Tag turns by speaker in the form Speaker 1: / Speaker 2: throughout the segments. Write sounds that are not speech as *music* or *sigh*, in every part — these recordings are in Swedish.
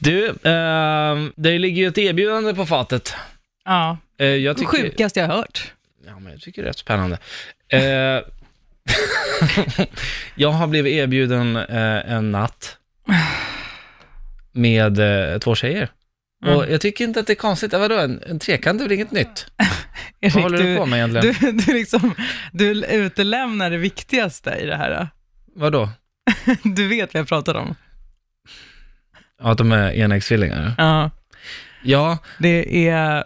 Speaker 1: Du, eh, det ligger ju ett erbjudande på fatet.
Speaker 2: Ja.
Speaker 1: Eh, jag tycker,
Speaker 2: Sjukaste jag hört.
Speaker 1: Ja, men jag tycker det är rätt spännande. Eh, *laughs* jag har blivit erbjuden eh, en natt med eh, två tjejer.
Speaker 2: Mm.
Speaker 1: Och jag tycker inte att det är konstigt. Ja, vadå, en, en trekant är väl inget nytt? Vad håller du på med egentligen?
Speaker 2: du, du, liksom, du utelämnar det viktigaste i det här. *laughs*
Speaker 1: Vadå?
Speaker 2: Du vet vad jag pratar om.
Speaker 1: Ja, att de är enäggstvillingar?
Speaker 2: Ja,
Speaker 1: Ja,
Speaker 2: det är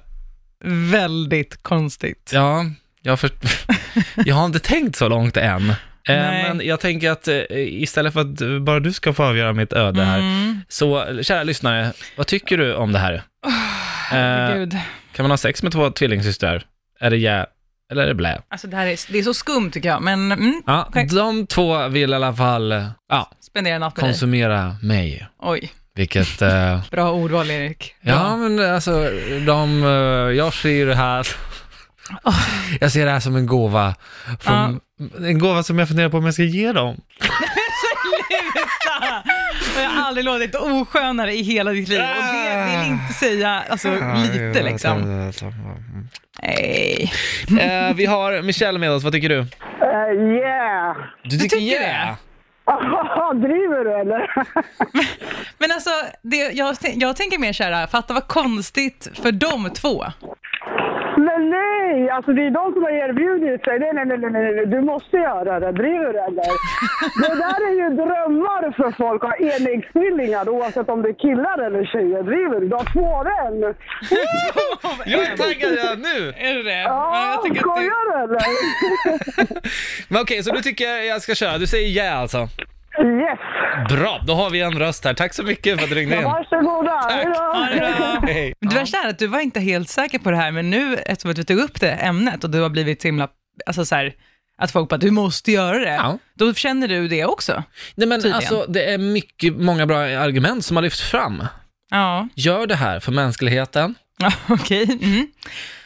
Speaker 2: väldigt konstigt.
Speaker 1: ja, jag, för... *laughs* jag har inte tänkt så långt än. Eh,
Speaker 2: Nej.
Speaker 1: men jag tänker att eh, istället för att eh, bara du ska få avgöra mitt öde här, Eh,
Speaker 2: Mm.
Speaker 1: så kära lyssnare, vad tycker du om det här? Eh,
Speaker 2: Herregud.
Speaker 1: Kan man ha sex med två tvillingsystrar? Är det ja eller är det blä?
Speaker 2: Alltså det här är, det är så skumt tycker jag, men mm,
Speaker 1: Ja,
Speaker 2: Okej.
Speaker 1: de två vill i alla fall ja,
Speaker 2: spendera natten i.
Speaker 1: konsumera mig.
Speaker 2: Oj,
Speaker 1: Vilket, *laughs* eh,
Speaker 2: bra ordval Erik.
Speaker 1: ja men alltså, de, eh, jag ser ju det här, *laughs* jag ser det här som en gåva. Från, En gåva som jag funderar på om jag ska ge dem.
Speaker 2: Sluta! Jag har aldrig låtit oskönare i hela ditt liv och det vill inte säga alltså, lite liksom. Nej.
Speaker 1: Eh, vi har Michelle med oss, vad tycker du?
Speaker 3: Eh, yeah!
Speaker 1: Du tycker,
Speaker 2: tycker
Speaker 1: yeah.
Speaker 3: Driver du eller? *laughs*
Speaker 2: Men alltså, det, jag, jag tänker mer så här, fatta vad konstigt för de två.
Speaker 3: Men nej! Alltså det är de som har erbjudit sig. Nej, nej, nej, nej, nej, nej. du måste göra det. Driver du eller? Det där är ju drömmar för folk att ha enäggstvillingar oavsett om det är killar eller tjejer. Driver du? Du har två den.
Speaker 1: Jag är taggad redan nu!
Speaker 2: Är det det? Ja,
Speaker 3: Ja,
Speaker 2: jag tycker att det...
Speaker 3: skojar du eller?
Speaker 1: Men okej, så du tycker jag ska köra, du säger yeah alltså?
Speaker 3: Yes!
Speaker 1: Bra, då har vi en röst här. Tack så mycket för att du ringde in.
Speaker 3: Varsågoda! Hej då.
Speaker 2: Ja, det är bra.
Speaker 1: Hej.
Speaker 2: Det värsta är att du var inte helt säker på det här, men nu eftersom att vi tog upp det ämnet och du har blivit så himla, alltså så här, att folk bara, du måste göra det.
Speaker 1: Ja.
Speaker 2: Då känner du det också.
Speaker 1: Nej, men
Speaker 2: Tydligen.
Speaker 1: alltså, det är mycket, många bra argument som har lyfts fram.
Speaker 2: Ja, *laughs*
Speaker 1: Gör det här för mänskligheten.
Speaker 2: ja okej. Mm.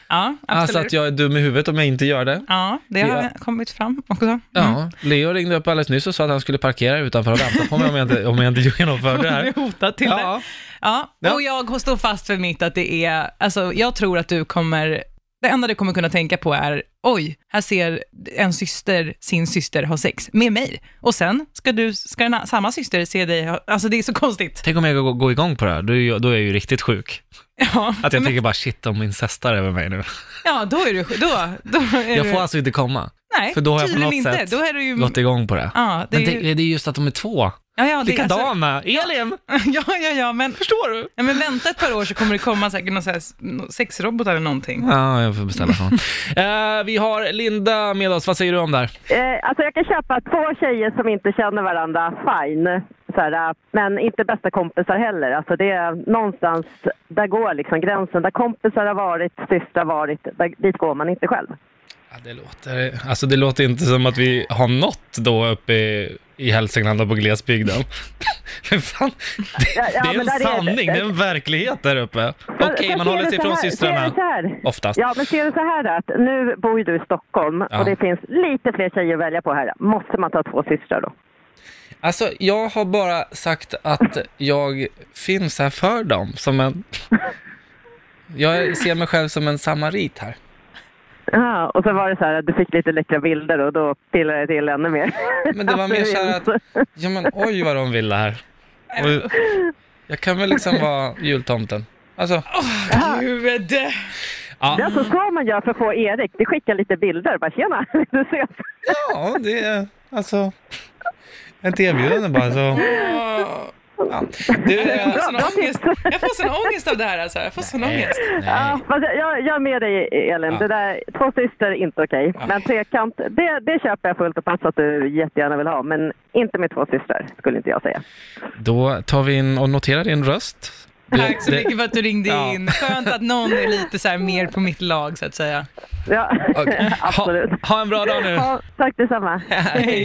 Speaker 2: Ja, absolut. Mm.
Speaker 1: Alltså att jag är dum i huvudet om jag inte gör det.
Speaker 2: Ja, det har
Speaker 1: Ja.
Speaker 2: kommit fram också. Mm.
Speaker 1: Ja, Leo ringde upp alldeles nyss och sa att han skulle parkera utanför och vänta på mig om jag inte, om jag inte *laughs* genomförde det här.
Speaker 2: Du *laughs* hotat till
Speaker 1: Ja,
Speaker 2: det.
Speaker 1: Ja.
Speaker 2: Ja, och jag står fast för mitt att det är, alltså jag tror att du kommer, det enda du kommer kunna tänka på är, oj, här ser en syster sin syster ha sex med mig. Och sen ska du, ska den, här- samma syster se dig, ha- alltså det är så konstigt. *laughs*
Speaker 1: tänk om jag går, går igång på det här, då är, jag, då är jag ju riktigt sjuk.
Speaker 2: Ja,
Speaker 1: Att jag tänker bara shit, de incestar över mig nu.
Speaker 2: ja då är du, då, då är
Speaker 1: Jag
Speaker 2: du,
Speaker 1: får alltså inte komma.
Speaker 2: nej,
Speaker 1: för då har jag på
Speaker 2: tydligen
Speaker 1: något
Speaker 2: inte.
Speaker 1: sätt
Speaker 2: Då är du ju,
Speaker 1: Gått igång på det.
Speaker 2: Mm. ja, det
Speaker 1: Men
Speaker 2: är ju,
Speaker 1: det, det är just att de är två.
Speaker 2: ja, ja, det är alltså-
Speaker 1: Likadana. Elin,
Speaker 2: *laughs* ja, ja, ja, men,
Speaker 1: förstår du?
Speaker 2: ja, men vänta ett par år så kommer det komma säkert någon så här s- no- sexrobot eller någonting.
Speaker 1: Ja, jag får beställa *laughs* sån. Eh, vi har Linda med oss, vad säger du om det här?
Speaker 4: Eh, alltså jag kan köpa två tjejer som inte känner varandra, fine. Så här, eh, men inte bästa kompisar heller. Alltså det är någonstans, där går liksom gränsen. Där kompisar har varit, systrar varit, där, dit går man inte själv.
Speaker 1: Ja, det, låter, alltså det låter inte som att vi har nått då uppe i, i Hälsingland och på glesbygden. *laughs* Men fan, det,
Speaker 4: Ja, ja,
Speaker 1: det är
Speaker 4: men
Speaker 1: en
Speaker 4: där är det.
Speaker 1: sanning, det är en verklighet där uppe. Okej,
Speaker 4: Så
Speaker 1: man
Speaker 4: ser
Speaker 1: håller
Speaker 4: det
Speaker 1: sig
Speaker 4: så
Speaker 1: ifrån
Speaker 4: här- ser
Speaker 1: systrarna.
Speaker 4: det så här.
Speaker 1: Oftast.
Speaker 4: Ja, men ser du så här då, att nu bor ju du i Stockholm
Speaker 1: Ja.
Speaker 4: och det finns lite fler tjejer att välja på här. Måste man ta två systrar då?
Speaker 1: Alltså, jag har bara sagt att jag finns här för dem, som
Speaker 4: *laughs*
Speaker 1: en... Jag ser mig själv som en samarit här.
Speaker 4: Ja, och så var det så här att du fick lite läckra bilder och då pillade det till ännu mer.
Speaker 1: Men det var mer
Speaker 4: *laughs*
Speaker 1: så här att, ja men oj vad de ville här. Och jag kan väl liksom vara jultomten. Alltså,
Speaker 2: Gud!
Speaker 1: ja.
Speaker 4: Det är alltså så man gör för att få Erik. Det skickar lite bilder. Bara tjena, *laughs* vill du ses?
Speaker 1: Ja, det är alltså ett erbjudande bara så.
Speaker 2: Åh,
Speaker 1: Ja. Du,
Speaker 2: Jag
Speaker 1: eh,
Speaker 2: får sån alltså ångest. Jag får sån ångest av det här alltså. Jag får sån
Speaker 1: nej,
Speaker 2: ångest.
Speaker 1: nej.
Speaker 4: Fast jag- jag, jag är med dig Elin.
Speaker 1: Ja.
Speaker 4: Det där, två systrar, inte okej.
Speaker 1: Ja.
Speaker 4: Men trekant, det, det köper jag fullt och fast att du jättegärna vill ha. Men inte med två systrar, skulle inte jag säga.
Speaker 1: Då tar vi in och noterar din röst. Det-
Speaker 2: Tack så
Speaker 1: det-
Speaker 2: mycket för att du ringde
Speaker 1: Ja.
Speaker 2: in. Skönt att någon är lite så här mer på mitt lag så att säga.
Speaker 4: Ja,
Speaker 1: Okej.
Speaker 4: *laughs* absolut.
Speaker 1: Ha, ha en bra dag nu.
Speaker 4: Ja, tack detsamma.
Speaker 1: Hej.